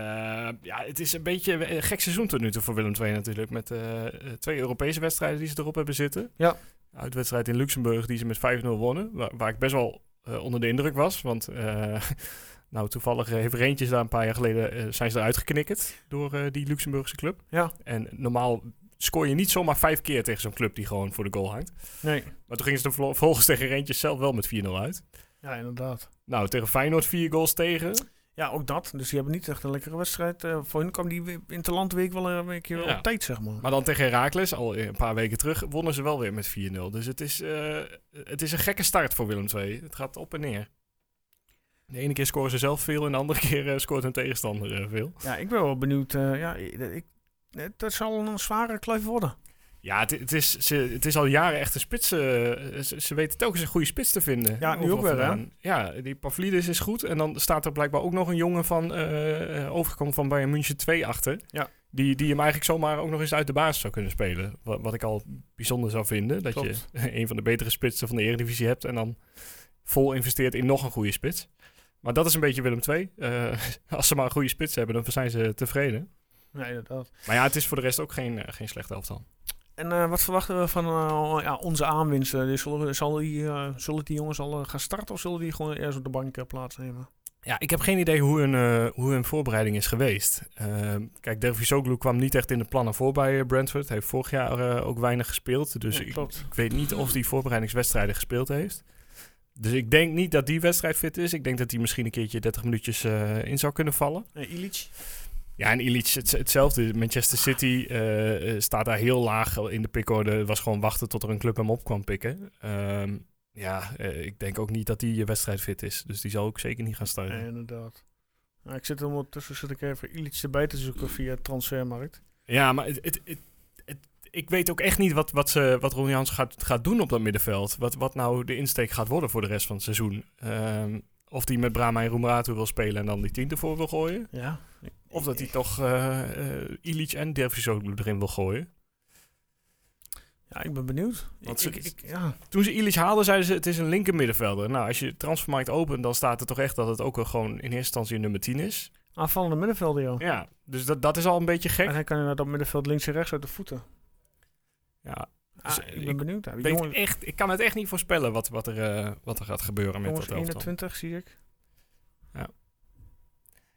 Speaker 2: ja, het is een beetje eh, een gek seizoen tot nu toe voor Willem II natuurlijk. Met eh, eh, twee Europese wedstrijden die ze erop hebben zitten.
Speaker 1: Ja.
Speaker 2: Uitwedstrijd in Luxemburg die ze met 5-0 wonnen. Waar, waar ik best wel eh, onder de indruk was. Want eh, nou, toevallig heeft Reentjes daar een paar jaar geleden... eh, zijn ze eruit geknikkerd door eh, die Luxemburgse club.
Speaker 1: Ja.
Speaker 2: En normaal scoor je niet zomaar vijf keer tegen zo'n club die gewoon voor de goal hangt.
Speaker 1: Nee.
Speaker 2: Maar toen gingen ze er verlo- vervolgens tegen Reentjes zelf wel met 4-0 uit.
Speaker 1: Ja, inderdaad.
Speaker 2: Nou, tegen Feyenoord vier goals tegen.
Speaker 1: Ja, ook dat. Dus die hebben niet echt een lekkere wedstrijd. Eh, voor hun kwam die interlandweek wel eh, een weekje
Speaker 2: Ja.
Speaker 1: op tijd, zeg maar.
Speaker 2: Maar dan tegen Herakles, al een paar weken terug, wonnen ze wel weer met 4-0. Dus het is, eh, het is een gekke start voor Willem II. Het gaat op en neer. De ene keer scoren ze zelf veel en de andere keer eh, scoort hun tegenstander eh, veel.
Speaker 1: Ja, ik ben wel benieuwd. eh, ja, ik, ik- het, het zal een zware kluif worden.
Speaker 2: Ja, het, het is, ze, het is al jaren echt een spits. eh, ze, ze weten telkens een goede spits te vinden.
Speaker 1: Ja, nu
Speaker 2: Overal
Speaker 1: ook wel, hè?
Speaker 2: vandaan. Ja, die Pavlidis is goed. En dan staat er blijkbaar ook nog een jongen van eh, eh, overgekomen van Bayern München 2 achter.
Speaker 1: Ja.
Speaker 2: Die, die hem eigenlijk zomaar ook nog eens uit de basis zou kunnen spelen. Wat, wat ik al bijzonder zou vinden. Dat
Speaker 1: Klopt.
Speaker 2: je een van de betere spitsen van de Eredivisie hebt. En dan vol investeert in nog een goede spits. Maar dat is een beetje Willem II. Eh, als ze maar een goede spits hebben, dan zijn ze tevreden.
Speaker 1: Ja, inderdaad.
Speaker 2: Maar ja, het is voor de rest ook geen, eh, geen slechte elftal.
Speaker 1: En eh, wat verwachten we van eh, ja, onze aanwinsten? Dus zullen, we- zal die, eh, zullen die jongens al eh, gaan starten of zullen die gewoon eerst op de bank eh, plaatsnemen?
Speaker 2: Ja, ik heb geen idee hoe hun, eh, hoe hun voorbereiding is geweest. Ehm, kijk, Dervisoglu kwam niet echt in de plannen voor bij eh, Brentford. Hij heeft vorig jaar eh, ook weinig gespeeld. Dus
Speaker 1: Ja,
Speaker 2: ik,
Speaker 1: klopt.
Speaker 2: ik weet niet of hij voorbereidingswedstrijden gespeeld heeft. Dus ik denk niet dat die wedstrijd fit is. Ik denk dat hij misschien een keertje 30 minuutjes eh, in zou kunnen vallen.
Speaker 1: Eh, Ilic?
Speaker 2: Ja, en Illich het, hetzelfde. Manchester City eh, eh, staat daar heel laag in de pickorde. Het was gewoon wachten tot er een club hem op kwam pikken. Ehm, ja, eh, ik denk ook niet dat die eh, wedstrijd fit is. Dus die zal ook zeker niet gaan starten.
Speaker 1: Nee, inderdaad. Nou, ik zit er ondertussen zit ik even Ilic erbij te zoeken via transfermarkt.
Speaker 2: Ja, maar het, het, het, het- ik weet ook echt niet wat, wat, ze, wat Ron Jans gaat, gaat doen op dat middenveld. Wat, wat nou de insteek gaat worden voor de rest van het seizoen. Ehm, of die met Brahma en Roemerato wil spelen en dan die tien ervoor wil gooien.
Speaker 1: Ja.
Speaker 2: Of dat hij toch eh eh Illich en Dervisoglu erin wil gooien.
Speaker 1: Ja, ik ben benieuwd.
Speaker 2: Want
Speaker 1: ik,
Speaker 2: ze-
Speaker 1: ik, ik- ja.
Speaker 2: Toen ze Illich haalden, zeiden ze het is een linker middenvelder. Nou, als je transfermarkt opent, dan staat er toch echt dat het ook wel gewoon in eerste instantie een nummer 10 is.
Speaker 1: Aanvallende middenvelder, joh.
Speaker 2: Ja, dus dat, dat is al een beetje
Speaker 1: En
Speaker 2: gek.
Speaker 1: hij kan inderdaad op middenveld links en rechts uit de voeten.
Speaker 2: Ja,
Speaker 1: Ah,
Speaker 2: Dus,
Speaker 1: ik ben
Speaker 2: ik
Speaker 1: benieuwd. Ja,
Speaker 2: ik,
Speaker 1: die
Speaker 2: weet
Speaker 1: jongen-
Speaker 2: echt, ik kan het echt niet voorspellen wat, wat, er, eh, wat er gaat gebeuren met
Speaker 1: jongens
Speaker 2: dat elftal.
Speaker 1: 21 zie ik.
Speaker 2: Ja.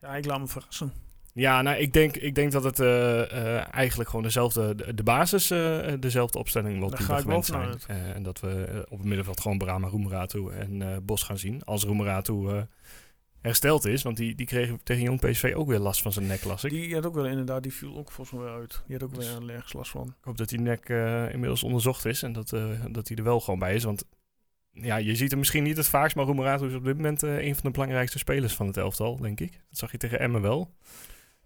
Speaker 1: Ja, ik laat me verrassen.
Speaker 2: Ja, nou, ik denk, ik denk dat het eh, eh, eigenlijk gewoon dezelfde, de, de basis, eh, dezelfde opstelling wordt
Speaker 1: Daar
Speaker 2: die
Speaker 1: ga
Speaker 2: we
Speaker 1: ik wel
Speaker 2: gewend
Speaker 1: vanuit.
Speaker 2: zijn. Eh, en dat we eh, op het middenveld gewoon Brahma, Roemeratu en eh, Bos gaan zien. Als Roemeratu eh, hersteld is, want die, die kreeg tegen Jong PSV ook weer last van zijn nek, las ik.
Speaker 1: Die had ook wel inderdaad, die viel ook volgens mij uit. Die had ook
Speaker 2: Dus-
Speaker 1: weer ergens last van.
Speaker 2: Ik hoop dat die nek eh, inmiddels onderzocht is en dat, eh, dat hij er wel gewoon bij is. Want ja, je ziet hem misschien niet het vaakst, maar Roemeratu is op dit moment eh, een van de belangrijkste spelers van het elftal, denk ik. Dat zag je tegen Emmen wel.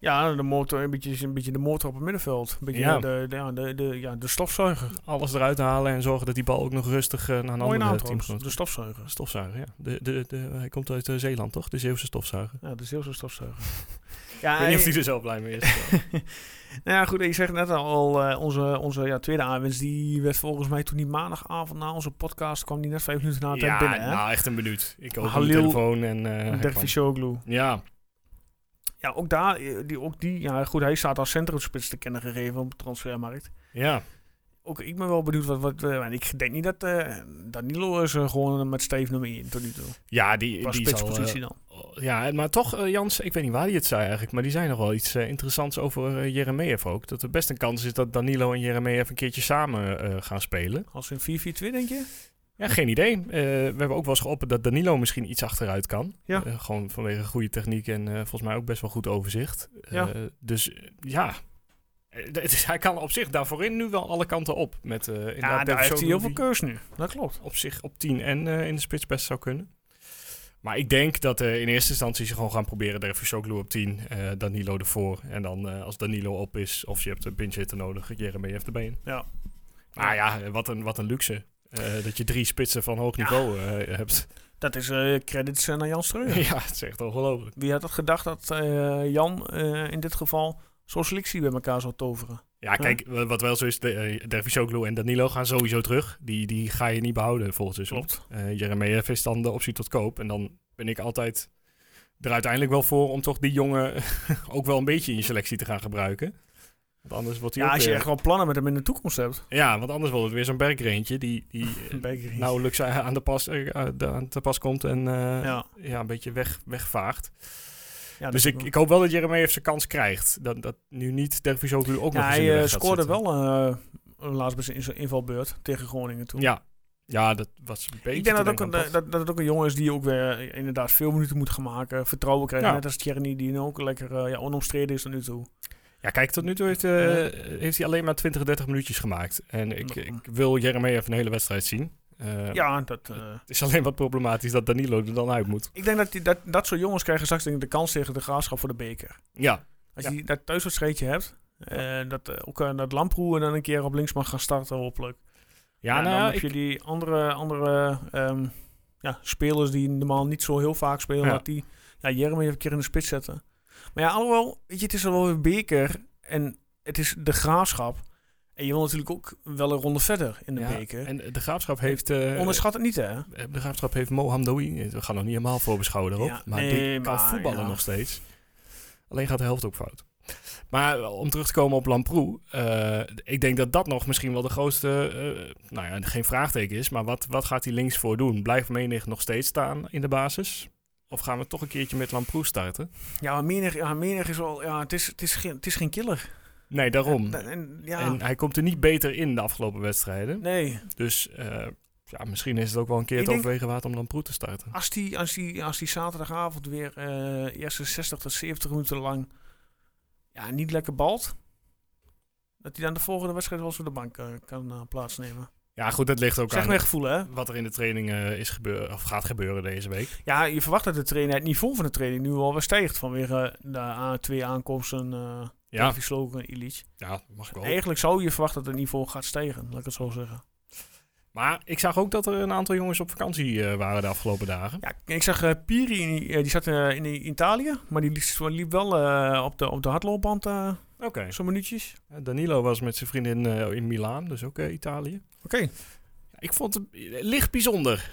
Speaker 1: Ja, de motor, een beetje, een beetje de motor op het middenveld. Een beetje
Speaker 2: Ja.
Speaker 1: de, de, ja, de, de, ja, de stofzuiger.
Speaker 2: Alles eruit halen en zorgen dat die bal ook nog rustig eh, naar een
Speaker 1: Mooie naam
Speaker 2: andere
Speaker 1: trouwens,
Speaker 2: team
Speaker 1: de stofzuiger.
Speaker 2: Stofzuiger, ja. De, de, de, hij komt uit eh, Zeeland, toch? De Zeeuwse stofzuiger.
Speaker 1: Ja, de Zeeuwse stofzuiger.
Speaker 2: ik
Speaker 1: ja,
Speaker 2: weet niet of
Speaker 1: eh,
Speaker 2: hij er zelf blij mee is.
Speaker 1: nou ja, goed, ik zeg net al, eh, onze, onze ja, tweede aanwinst, die werd volgens mij toen die maandagavond na onze podcast, kwam die net vijf minuten na de tijd binnen, hè?
Speaker 2: nou, echt een minuut. Ik
Speaker 1: opende
Speaker 2: open
Speaker 1: mijn
Speaker 2: de
Speaker 1: telefoon
Speaker 2: telefoon en... eh,
Speaker 1: Dervisoglu.
Speaker 2: ja,
Speaker 1: Ja, ook daar, eh, die, ook die, ja goed, hij staat als centrumspits te kennen gegeven op de transfermarkt.
Speaker 2: ja.
Speaker 1: Ook ik ben wel benieuwd wat, wat eh, en ik denk niet dat eh, Danilo is eh, gewoon met Steve nummer 1 tot nu toe.
Speaker 2: Ja, die,
Speaker 1: Qua
Speaker 2: die zal... eh,
Speaker 1: spitspositie dan.
Speaker 2: ja, maar toch, eh, Jans, ik weet niet waar hij het zei eigenlijk, maar die zei nog wel iets eh, interessants over eh, Jeremejeff ook. Dat er best een kans is dat Danilo en Jeremejeff een keertje samen eh, gaan spelen.
Speaker 1: Als in 4-4-2 denk je?
Speaker 2: Ja, geen idee. Eh, we hebben ook wel eens geopperd dat Danilo misschien iets achteruit kan.
Speaker 1: Ja.
Speaker 2: Eh, gewoon vanwege goede techniek en eh, volgens mij ook best wel goed overzicht.
Speaker 1: Ja.
Speaker 2: Eh, dus eh, ja, Eh, d- het is- hij kan op zich daarvoor in nu wel alle kanten op. Met, eh inderdaad
Speaker 1: Ja, daar
Speaker 2: Davidson
Speaker 1: heeft hij heel veel
Speaker 2: die
Speaker 1: keus nu. Dat klopt.
Speaker 2: Op zich op 10 en eh, in de spits best zou kunnen. Maar ik denk dat eh, in eerste instantie ze gewoon gaan proberen Dervisoglu op 10, eh, Danilo ervoor. En dan eh, als Danilo op is, of je hebt een pinch hitter nodig, Jeremy heeft erbij in.
Speaker 1: Ja.
Speaker 2: Maar ja, eh, wat een, wat een luxe. eh, dat je drie spitsen van hoog niveau eh, hebt.
Speaker 1: Dat is eh, credits eh, naar Jan Streuer.
Speaker 2: Ja, het is echt ongelooflijk.
Speaker 1: Wie had het gedacht dat eh, Jan eh, in dit geval zo'n selectie bij elkaar zou toveren?
Speaker 2: Ja, kijk, wa- wat wel zo is, de, eh, Dervisoglu en Danilo gaan sowieso terug. Die, die ga je niet behouden volgens seizoen.
Speaker 1: Klopt.
Speaker 2: Eh Jeremejeff is dan de optie tot koop. En dan ben ik altijd er uiteindelijk wel voor om toch die jongen ook wel een beetje in je selectie te gaan gebruiken. Want anders wordt hij
Speaker 1: Ja,
Speaker 2: ook eh,
Speaker 1: als je
Speaker 2: weer-
Speaker 1: echt wel plannen met hem in de toekomst hebt.
Speaker 2: Ja, want anders wordt het weer zo'n bergreentje die, die eh,
Speaker 1: Bakery.
Speaker 2: nauwelijks eh, aan de pas, eh, aan de- aan te pas komt en eh, ja.
Speaker 1: ja.
Speaker 2: een beetje weg, wegvaagt.
Speaker 1: Ja, dat
Speaker 2: dus
Speaker 1: is
Speaker 2: ik,
Speaker 1: wel-
Speaker 2: ik hoop wel dat Jeremejeff zijn kans krijgt. Dat, dat nu niet Dervisoglu ook
Speaker 1: Ja,
Speaker 2: nog eens in
Speaker 1: hij
Speaker 2: de
Speaker 1: eh,
Speaker 2: weg gaat
Speaker 1: scoorde
Speaker 2: zitten.
Speaker 1: wel eh, laatst bij zijn in- zijn invalbeurt tegen Groningen toen.
Speaker 2: Ja. ja, dat was een beetje
Speaker 1: Ik denk dat,
Speaker 2: te
Speaker 1: ook een, eh,
Speaker 2: denken aan
Speaker 1: dat, dat het ook een jongen is die ook weer eh, inderdaad veel minuten moet gaan maken. Vertrouwen krijgen.
Speaker 2: Ja.
Speaker 1: Net als Tjerni, die nu ook lekker eh, ja, onomstreden is tot nu toe.
Speaker 2: pas. Ja, kijk, tot nu toe heeft, eh, heeft hij alleen maar 20, 30 minuutjes gemaakt. En ik,
Speaker 1: Nou.
Speaker 2: ik wil Jeremy even een hele wedstrijd zien. Eh,
Speaker 1: ja, dat, eh,
Speaker 2: Het is alleen wat problematisch dat Danilo er dan uit moet.
Speaker 1: ik denk dat, die, dat dat soort jongens krijgen straks denk ik, de kans tegen de graafschap voor de beker.
Speaker 2: Ja,
Speaker 1: Als
Speaker 2: Ja.
Speaker 1: je die- dat thuiswedstrijdje hebt, Eh, dat eh, ook eh, dat Lamproe dan een keer op links mag gaan starten, hopelijk.
Speaker 2: Ja,
Speaker 1: en dan
Speaker 2: nou,
Speaker 1: heb
Speaker 2: ik,
Speaker 1: je die andere, andere ehm, ja, spelers die normaal niet zo heel vaak spelen.
Speaker 2: Ja.
Speaker 1: Dat die ja, Jeremy even een keer in de spits zetten. Maar ja, alhoewel, weet je, het is al wel weer beker. En het is de graafschap. En je wil natuurlijk ook wel een ronde verder in de
Speaker 2: ja,
Speaker 1: beker.
Speaker 2: en de graafschap heeft. eh,
Speaker 1: Onderschat het niet, hè?
Speaker 2: de graafschap heeft Mohamdoui. We gaan nog niet helemaal voorbeschouwen erop.
Speaker 1: Ja,
Speaker 2: maar
Speaker 1: nee,
Speaker 2: die kan
Speaker 1: maar
Speaker 2: voetballen
Speaker 1: ja.
Speaker 2: nog steeds. Alleen gaat de helft ook fout. Maar eh, om terug te komen op Lamproe. eh, ik denk dat dat nog misschien wel de grootste. eh, nou ja, geen vraagteken is. Maar wat, wat gaat hij links voor doen? Blijft menig nog steeds staan in de basis? Of gaan we toch een keertje met Lamproe starten?
Speaker 1: Ja, maar Menig, ja, Menig is wel... Ja, het, is, het, is geen, het is geen killer.
Speaker 2: Nee, daarom.
Speaker 1: En, en- ja,
Speaker 2: Mm. En hij komt er niet beter in de afgelopen wedstrijden.
Speaker 1: nee.
Speaker 2: Dus eh, ja, misschien is het ook wel een keer
Speaker 1: Ik
Speaker 2: te
Speaker 1: denk-
Speaker 2: overwegen waard om Lamproe te starten.
Speaker 1: Als die, als die, als die zaterdagavond weer eh eerste 60 tot 70 minuten lang ja, niet lekker balt, dat hij dan de volgende wedstrijd wel eens op de bank eh, kan eh, plaatsnemen.
Speaker 2: Ja, goed, dat ligt ook
Speaker 1: Zeg
Speaker 2: aan
Speaker 1: mijn gevoel, hè?
Speaker 2: wat er in de training eh, is gebeuren, of gaat gebeuren deze week.
Speaker 1: Ja, je verwacht dat de trainer, het niveau van de training nu al weer stijgt vanwege eh, de a twee aankomsten, eh
Speaker 2: Ja,
Speaker 1: Davy Slogan en Illich.
Speaker 2: ja mag ik wel.
Speaker 1: Eigenlijk zou je verwachten dat het niveau gaat stijgen, laat ik het zo zeggen.
Speaker 2: Maar ik zag ook dat er een aantal jongens op vakantie eh, waren de afgelopen dagen.
Speaker 1: Ja, ik zag eh, Piri, eh, die zat eh, in Italië, maar die liep, liep wel eh, op, de, op de hardloopband eh,
Speaker 2: Oké.
Speaker 1: zo'n minuutjes.
Speaker 2: Eh, Danilo was met zijn vriendin eh, in Milaan, dus ook eh, Italië.
Speaker 1: Oké.
Speaker 2: Ik vond het eh, licht bijzonder,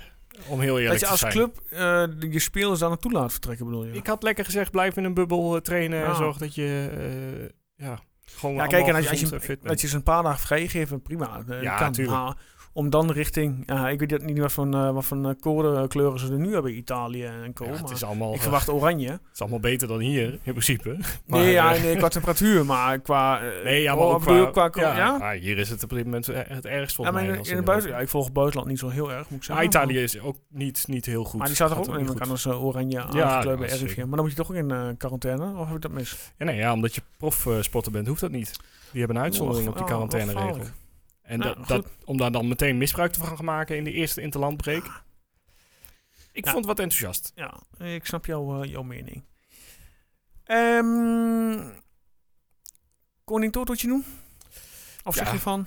Speaker 2: om heel
Speaker 1: Dat
Speaker 2: eerlijk
Speaker 1: je
Speaker 2: te
Speaker 1: als
Speaker 2: zijn.
Speaker 1: club eh, je spelers daar naartoe laat vertrekken, bedoel je?
Speaker 2: Ik had lekker gezegd, blijf in een bubbel eh, trainen en
Speaker 1: Ja.
Speaker 2: zorg dat je eh, ja, gewoon
Speaker 1: ja,
Speaker 2: allemaal
Speaker 1: kijk, en als, je- als
Speaker 2: gezond
Speaker 1: je,
Speaker 2: en fit bent.
Speaker 1: als je ze een paar dagen vrijgeeft, prima. eh,
Speaker 2: Ja,
Speaker 1: kan.
Speaker 2: tuurlijk.
Speaker 1: Maar om dan richting, ja, ik weet dat niet wat van, eh, wat van eh, code kleuren ze er nu hebben, Italië en co.
Speaker 2: Ja, het,
Speaker 1: maar
Speaker 2: is allemaal,
Speaker 1: ik
Speaker 2: eh,
Speaker 1: verwacht oranje.
Speaker 2: het is allemaal beter dan hier, in principe. Maar,
Speaker 1: nee, ja,
Speaker 2: eh,
Speaker 1: nee, qua temperatuur, maar qua... eh,
Speaker 2: nee, ja, maar
Speaker 1: oh,
Speaker 2: ook
Speaker 1: bedoel,
Speaker 2: qua,
Speaker 1: qua- ja?
Speaker 2: ah, hier is het op dit moment eh, het ergst
Speaker 1: Ja,
Speaker 2: volgens
Speaker 1: maar in,
Speaker 2: mij.
Speaker 1: in
Speaker 2: als
Speaker 1: het buiten, ja, ik volg buitenland niet zo heel erg, moet ik
Speaker 2: Maar
Speaker 1: zeggen.
Speaker 2: Ah, Italië is ook niet, niet heel goed.
Speaker 1: Maar die staat er
Speaker 2: Gaat
Speaker 1: ook in
Speaker 2: niet
Speaker 1: elkaar
Speaker 2: goed.
Speaker 1: als eh, oranje
Speaker 2: Ja,
Speaker 1: aangekleurd bij
Speaker 2: ja,
Speaker 1: RIVM.
Speaker 2: zeker.
Speaker 1: Maar dan moet je toch ook in eh, quarantaine, of heb ik dat mis?
Speaker 2: Ja, nee, ja, omdat je profsporter bent, hoeft dat niet. Die hebben een uitzondering
Speaker 1: Nog-
Speaker 2: op die
Speaker 1: ja, nog
Speaker 2: quarantaineregel.
Speaker 1: Oh, gevaarlijk.
Speaker 2: En
Speaker 1: Nou,
Speaker 2: dat, dat, om daar dan meteen misbruik van te gaan maken in de eerste interlandbreek. Ik
Speaker 1: Ah. Ja.
Speaker 2: vond het wat enthousiast.
Speaker 1: Ja, ik snap jouw, eh, jouw mening. Ehm Koning Totootje doen? Of zeg
Speaker 2: Ja.
Speaker 1: je van?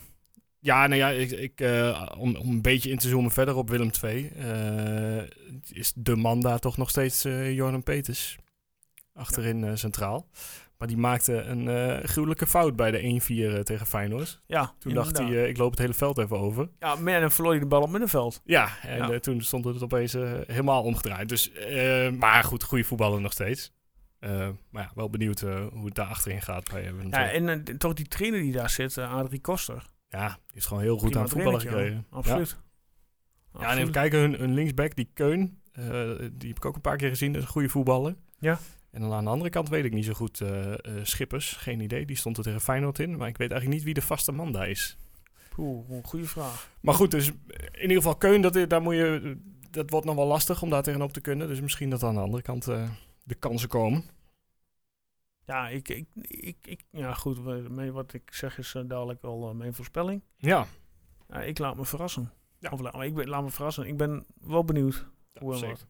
Speaker 2: Ja, nou ja, ik, ik, eh, om, om een beetje in te zoomen verder op Willem II, eh, is de man daar toch nog steeds eh Jordan Peters. Achterin eh, centraal. Maar die maakte een eh, gruwelijke fout bij de 1-4 eh, tegen Feyenoord.
Speaker 1: Ja,
Speaker 2: Toen dacht hij,
Speaker 1: inderdaad.
Speaker 2: eh, ik loop het hele veld even over.
Speaker 1: Ja, maar ja, dan verloor je de bal op middenveld.
Speaker 2: Ja, en
Speaker 1: Ja.
Speaker 2: eh, toen stond het opeens eh, helemaal omgedraaid. Dus, eh, maar goed, goede voetballer nog steeds. Eh, maar ja, wel benieuwd eh, hoe het daar achterin gaat bij eh, Willem
Speaker 1: Ja,
Speaker 2: II.
Speaker 1: en eh, toch die trainer die daar zit, eh, Adrie Koster.
Speaker 2: Ja, die is gewoon heel goed
Speaker 1: Prima
Speaker 2: aan het voetballen
Speaker 1: trainertje,
Speaker 2: gekregen.
Speaker 1: hoor. Absoluut.
Speaker 2: Ja, en even kijken, hun, hun linksback, die Keun, eh, die heb ik ook een paar keer gezien, dat is een goede voetballer.
Speaker 1: Ja.
Speaker 2: En dan aan de andere kant weet ik niet zo goed, eh, eh, Schippers, geen idee, die stond er tegen Feyenoord in, maar ik weet eigenlijk niet wie de vaste man daar is.
Speaker 1: Poeh, goede vraag.
Speaker 2: Maar goed, dus in ieder geval Keun, dat, daar moet je, dat wordt nog wel lastig om daar tegenop te kunnen, dus misschien dat aan de andere kant eh, de kansen komen.
Speaker 1: Ja, ik, ik, ik, ik- ja goed, we- mee- wat ik zeg is eh, dadelijk al eh, mijn voorspelling.
Speaker 2: Ja,
Speaker 1: Ja, ik laat me verrassen.
Speaker 2: Ja.
Speaker 1: Of, la- ik ben, laat me verrassen. Ik ben wel benieuwd. Hoe en
Speaker 2: zeker.
Speaker 1: wat.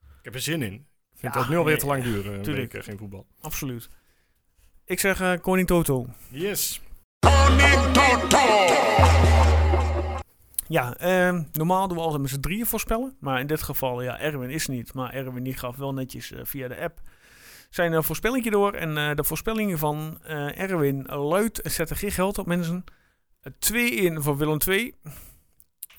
Speaker 2: Ik heb er zin in. Ik vind
Speaker 1: Ja,
Speaker 2: dat nu alweer
Speaker 1: nee,
Speaker 2: te lang duren, een
Speaker 1: tuurlijk.
Speaker 2: week, eh, geen voetbal.
Speaker 1: Absoluut. Ik zeg eh, Koning Toto.
Speaker 2: Yes.
Speaker 1: Ja, ehm, normaal doen we altijd met z'n drieën voorspellen. Maar in dit geval, ja, Erwin is er niet. Maar Erwin die gaf wel netjes eh, via de app zijn eh, voorspellingje door. En eh, de voorspelling van eh, Erwin luidt, zet er geen geld op mensen. 2 in voor Willem 2.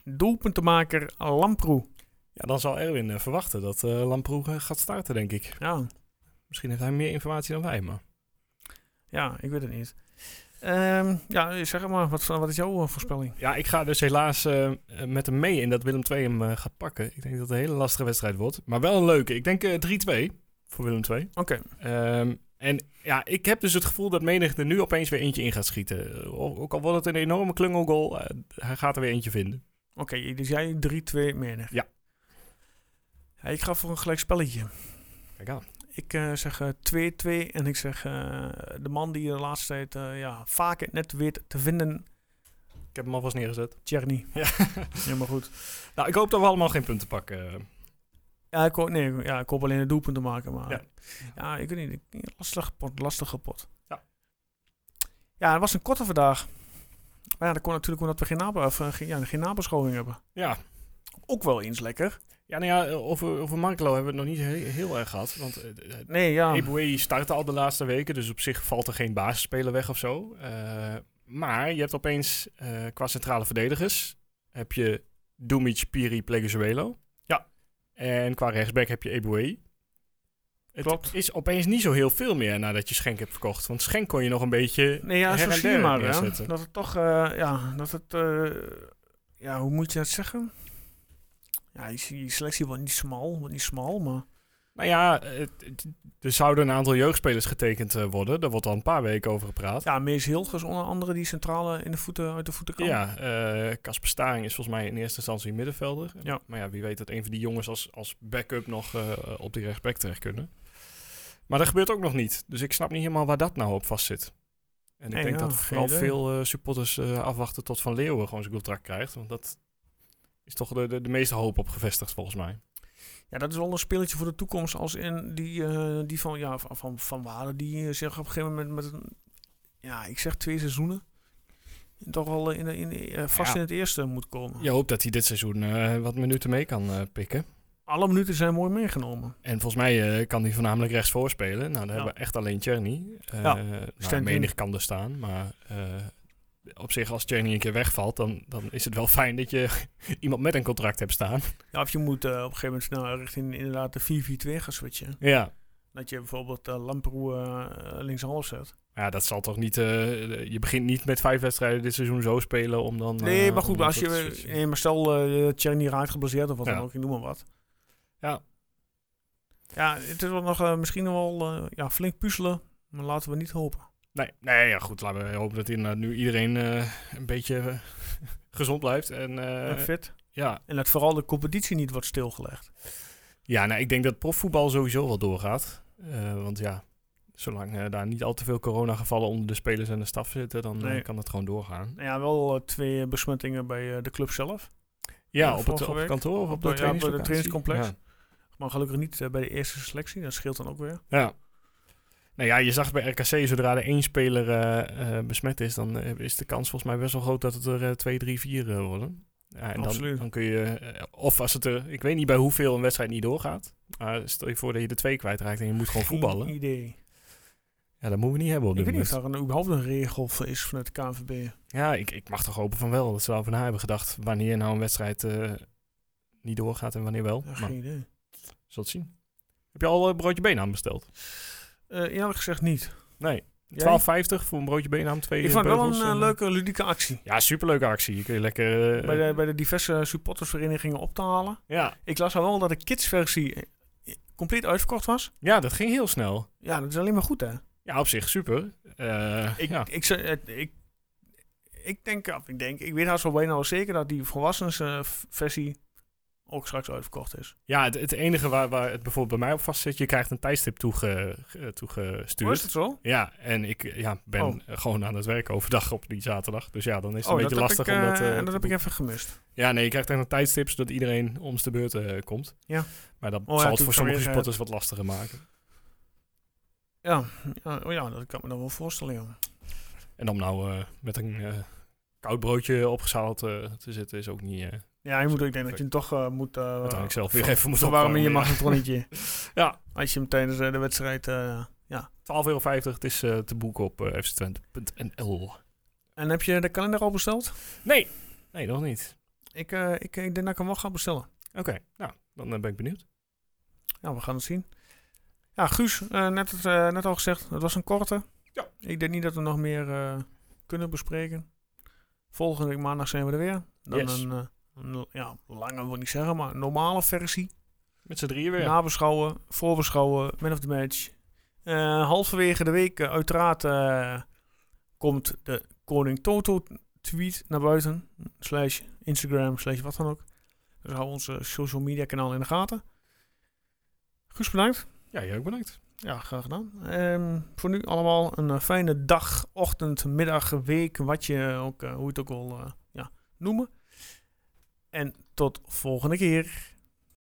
Speaker 1: Doelpuntenmaker Lamproe.
Speaker 2: Ja, dan zal Erwin eh, verwachten dat eh Lamproe eh, gaat starten, denk ik.
Speaker 1: Ja,
Speaker 2: Misschien heeft hij meer informatie dan wij, maar...
Speaker 1: ja, ik weet het niet. Ehm, ja, zeg het maar, wat, wat is jouw eh, voorspelling?
Speaker 2: Ja, ik ga dus helaas eh, met hem mee in dat Willem II hem eh, gaat pakken. Ik denk dat het een hele lastige wedstrijd wordt. Maar wel een leuke. Ik denk eh 3-2 voor Willem II.
Speaker 1: Oké,
Speaker 2: Ehm, en ja, ik heb dus het gevoel dat menig er nu opeens weer eentje in gaat schieten. Eh, o- Ook al wordt het een enorme klungelgoal, eh, hij gaat er weer eentje vinden.
Speaker 1: oké, dus jij 3-2 menig.
Speaker 2: Ja.
Speaker 1: Ja, Ik ga voor een gelijk spelletje.
Speaker 2: Kijk aan.
Speaker 1: Ik eh, zeg eh, 2-2 en ik zeg eh, de man die de laatste tijd eh, ja, vaak het net weet te vinden,
Speaker 2: Ik heb hem alvast neergezet.
Speaker 1: Tjerni.
Speaker 2: Ja.
Speaker 1: Helemaal goed.
Speaker 2: nou, ik hoop dat we allemaal geen punten pakken.
Speaker 1: Ja, ik hoop, nee, ja, ik hoop alleen de doelpunten maken, maar
Speaker 2: Ja.
Speaker 1: ja. ik weet niet, ik- lastig pot, lastige pot.
Speaker 2: Ja.
Speaker 1: Ja, het was een korte vandaag. Maar ja, dat kon natuurlijk omdat we geen, nabo- of, eh, geen, ja, geen nabeschouwing hebben.
Speaker 2: Ja.
Speaker 1: Ook wel eens lekker.
Speaker 2: Ja, nou ja, over, over Markelo hebben we het nog niet he- heel erg gehad. Want eh,
Speaker 1: Nee, ja.
Speaker 2: Eboué startte al de laatste weken, dus op zich valt er geen basisspeler weg of zo. Eh, maar je hebt opeens eh, qua centrale verdedigers heb je Dumic, Piri, Plegezuelo.
Speaker 1: Ja.
Speaker 2: En qua rechtsback heb je Eboué. Het
Speaker 1: Klopt.
Speaker 2: is opeens niet zo heel veel meer nadat je Schenk hebt verkocht. Want Schenk kon je nog een beetje
Speaker 1: Nee, ja,
Speaker 2: her
Speaker 1: zo
Speaker 2: en
Speaker 1: zie je
Speaker 2: der
Speaker 1: maar. Hè?
Speaker 2: neerzetten.
Speaker 1: Dat het toch, eh, ja, dat het, eh, ja, hoe moet je dat zeggen? Ja, je ziet die selectie wordt niet smal, wordt niet smal, maar
Speaker 2: Nou ja, het- het- er zouden een aantal jeugdspelers getekend eh, worden. Daar wordt al een paar weken over gepraat.
Speaker 1: ja, Mees Hilgers onder andere die centrale in de voeten, uit de voeten kan.
Speaker 2: Ja, eh, Casper Staring is volgens mij in eerste instantie middenvelder.
Speaker 1: Ja.
Speaker 2: Maar ja, wie weet dat een van die jongens als, als backup nog eh, op die rechtsback terecht kunnen. Maar dat gebeurt ook nog niet. Dus ik snap niet helemaal waar dat nou op vast zit. En ik
Speaker 1: Nee,
Speaker 2: denk
Speaker 1: ja,
Speaker 2: dat
Speaker 1: geen
Speaker 2: vooral
Speaker 1: idee.
Speaker 2: veel eh, supporters eh, afwachten tot Van Leeuwen gewoon zijn contract krijgt. Want dat is toch de, de, de meeste hoop op gevestigd volgens mij.
Speaker 1: Ja, dat is wel een speeltje voor de toekomst. Als in die, eh, die van, ja, van, van, van Waarden, die eh, zich op een gegeven moment met een, ja, ik zeg twee seizoenen. Toch wel eh, in, de- in, de- eh, vast
Speaker 2: Ja.
Speaker 1: in het eerste moet komen.
Speaker 2: Je hoopt dat hij dit seizoen eh, wat minuten mee kan eh, pikken.
Speaker 1: Alle minuten zijn mooi meegenomen.
Speaker 2: En volgens mij eh, kan hij voornamelijk rechts voorspelen. Nou, daar
Speaker 1: Ja.
Speaker 2: hebben we echt alleen Czerny. Eh
Speaker 1: Ja,
Speaker 2: nou,
Speaker 1: stemt
Speaker 2: menig
Speaker 1: in.
Speaker 2: kan er staan, maar eh, op zich als Czerny een keer wegvalt, dan, dan is het wel fijn dat je iemand met een contract hebt staan.
Speaker 1: Ja, of je moet eh, op een gegeven moment snel richting inderdaad de 4-4-2 gaan switchen.
Speaker 2: Ja.
Speaker 1: Dat je bijvoorbeeld eh Lamproe eh linkshalf zet.
Speaker 2: Ja, dat zal toch niet... eh, je begint niet met vijf wedstrijden dit seizoen zo spelen om dan...
Speaker 1: nee,
Speaker 2: eh,
Speaker 1: maar
Speaker 2: om
Speaker 1: goed,
Speaker 2: dan
Speaker 1: als
Speaker 2: zo te
Speaker 1: je,
Speaker 2: switchen.
Speaker 1: nee, maar stel eh Tjerni raakt geblesseerd of wat
Speaker 2: Ja.
Speaker 1: dan ook, ik noem maar wat.
Speaker 2: Ja.
Speaker 1: Ja, het is wel nog eh, misschien nog wel eh, ja, flink puzzelen, maar laten we niet hopen.
Speaker 2: Nee, nee ja, goed, laten we hopen dat inderdaad nu iedereen eh, een beetje eh, gezond blijft. En eh,
Speaker 1: en fit.
Speaker 2: ja,
Speaker 1: En dat vooral de competitie niet wordt stilgelegd.
Speaker 2: Ja, nou, ik denk dat profvoetbal sowieso wel doorgaat. Eh, want ja, zolang eh, daar niet al te veel coronagevallen onder de spelers en de staf zitten, dan eh,
Speaker 1: Nee.
Speaker 2: kan dat gewoon doorgaan.
Speaker 1: Nou ja, wel eh, twee besmettingen bij eh, de club zelf.
Speaker 2: Ja,
Speaker 1: Ja,
Speaker 2: op het,
Speaker 1: vorige
Speaker 2: op het
Speaker 1: week.
Speaker 2: kantoor of op,
Speaker 1: Op de-
Speaker 2: de,
Speaker 1: ja, op de
Speaker 2: trainingslocatie.
Speaker 1: trainingscomplex.
Speaker 2: Ja.
Speaker 1: Maar gelukkig niet eh, bij de eerste selectie, dat scheelt dan ook weer.
Speaker 2: Ja. Nou ja, je zag bij RKC, zodra er één speler eh, eh, besmet is, dan eh, is de kans volgens mij best wel groot dat het er eh, twee, drie, vier eh, worden. Ja, en dan,
Speaker 1: Absoluut.
Speaker 2: dan kun je, eh, of als het er, ik weet niet bij hoeveel een wedstrijd niet doorgaat, maar stel je voor dat je er twee kwijtraakt en je moet gewoon
Speaker 1: Geen
Speaker 2: voetballen.
Speaker 1: idee.
Speaker 2: Ja, dat moeten we niet hebben op
Speaker 1: Ik
Speaker 2: dit
Speaker 1: weet niet
Speaker 2: moment.
Speaker 1: of daar een, überhaupt een regel voor is vanuit de KNVB.
Speaker 2: Ja, ik, ik mag toch hopen van wel. Dat ze daarover na hebben gedacht wanneer nou een wedstrijd eh, niet doorgaat en wanneer wel.
Speaker 1: Ja,
Speaker 2: maar
Speaker 1: geen idee.
Speaker 2: zult het zien. Heb je al een broodje beenham besteld?
Speaker 1: Eh, eerlijk gezegd niet.
Speaker 2: Nee. 12,50
Speaker 1: Jij?
Speaker 2: voor een broodje beenham, twee
Speaker 1: Ik
Speaker 2: eh,
Speaker 1: vond het wel een
Speaker 2: beugels
Speaker 1: eh,
Speaker 2: en-
Speaker 1: leuke, ludieke actie.
Speaker 2: Ja, superleuke actie. Je kun je lekker... eh,
Speaker 1: Bij de, bij de diverse supportersverenigingen op te halen.
Speaker 2: ja.
Speaker 1: Ik las al wel dat de kidsversie eh, compleet uitverkocht was.
Speaker 2: ja, dat ging heel snel.
Speaker 1: Ja, dat is alleen maar goed, hè?
Speaker 2: Ja, op zich super. Eh,
Speaker 1: Ik,
Speaker 2: ja.
Speaker 1: ik, zou- het- ik, ik denk, of ik denk, ik weet haast wel bijna wel zeker dat die volwassensversie eh, ook straks uitverkocht is.
Speaker 2: ja, het, het enige waar, waar het bijvoorbeeld bij mij op vast zit, je krijgt een tijdstip toege, ge-
Speaker 1: Hoe is
Speaker 2: toegestuurd.
Speaker 1: het zo?
Speaker 2: Ja, en ik eh, ja, ben
Speaker 1: Oh.
Speaker 2: gewoon aan het werk overdag op die zaterdag. Dus ja, dan is het
Speaker 1: Oh,
Speaker 2: een
Speaker 1: dat
Speaker 2: beetje
Speaker 1: heb
Speaker 2: lastig
Speaker 1: ik, eh,
Speaker 2: om dat... eh,
Speaker 1: en dat heb
Speaker 2: te
Speaker 1: ik even gemist.
Speaker 2: Ja, nee, je krijgt echt een tijdstip zodat iedereen om de beurt eh, komt.
Speaker 1: Ja.
Speaker 2: Maar dat
Speaker 1: ja,
Speaker 2: zal het
Speaker 1: toen
Speaker 2: voor
Speaker 1: kan
Speaker 2: sommige
Speaker 1: weer, eh,
Speaker 2: supporters wat lastiger maken.
Speaker 1: Ja, ja, oh ja, dat kan ik me dan wel voorstellen, joh.
Speaker 2: En om nou eh, met een eh, koud broodje opgezaald eh, te zitten is ook niet... eh
Speaker 1: Ja, je moet, ik denk dat je hem toch eh, moet... eh,
Speaker 2: uiteindelijk zelf weer even moet
Speaker 1: Waarom in je
Speaker 2: opwarmen,
Speaker 1: magnetronetje?
Speaker 2: Ja.
Speaker 1: Als je hem tijdens eh, de wedstrijd... eh, ja.
Speaker 2: 12,50 euro, het is eh, te boeken op eh, fctwente.nl.
Speaker 1: En heb je de kalender al besteld?
Speaker 2: Nee, nee, nog niet.
Speaker 1: Ik, eh, ik, ik denk dat ik hem wel ga bestellen.
Speaker 2: Oké, nou, dan eh, ben ik benieuwd.
Speaker 1: Ja, we gaan het zien. Ja, Guus, eh, net, het, eh, net al gezegd, het was een korte.
Speaker 2: Ja.
Speaker 1: Ik denk niet dat we nog meer eh, kunnen bespreken. Volgende week maandag zijn we er weer. Dan
Speaker 2: Yes.
Speaker 1: een, eh, een, ja, lange wil ik niet zeggen, maar een normale versie.
Speaker 2: Met z'n drieën weer.
Speaker 1: Nou. Nabeschouwen, voorbeschouwen, man of the match. Eh, halverwege de week, eh, uiteraard, eh, komt de Koning Toto tweet naar buiten. Slash Instagram, slash wat dan ook. Dus hou onze social media kanaal in de gaten. Guus, bedankt.
Speaker 2: Ja, jij ook bedankt.
Speaker 1: Ja, graag gedaan. Ehm, voor nu allemaal een eh, fijne dag, ochtend, middag, week, wat je ook, eh, hoe je het ook wil eh, ja, noemen. En tot volgende keer.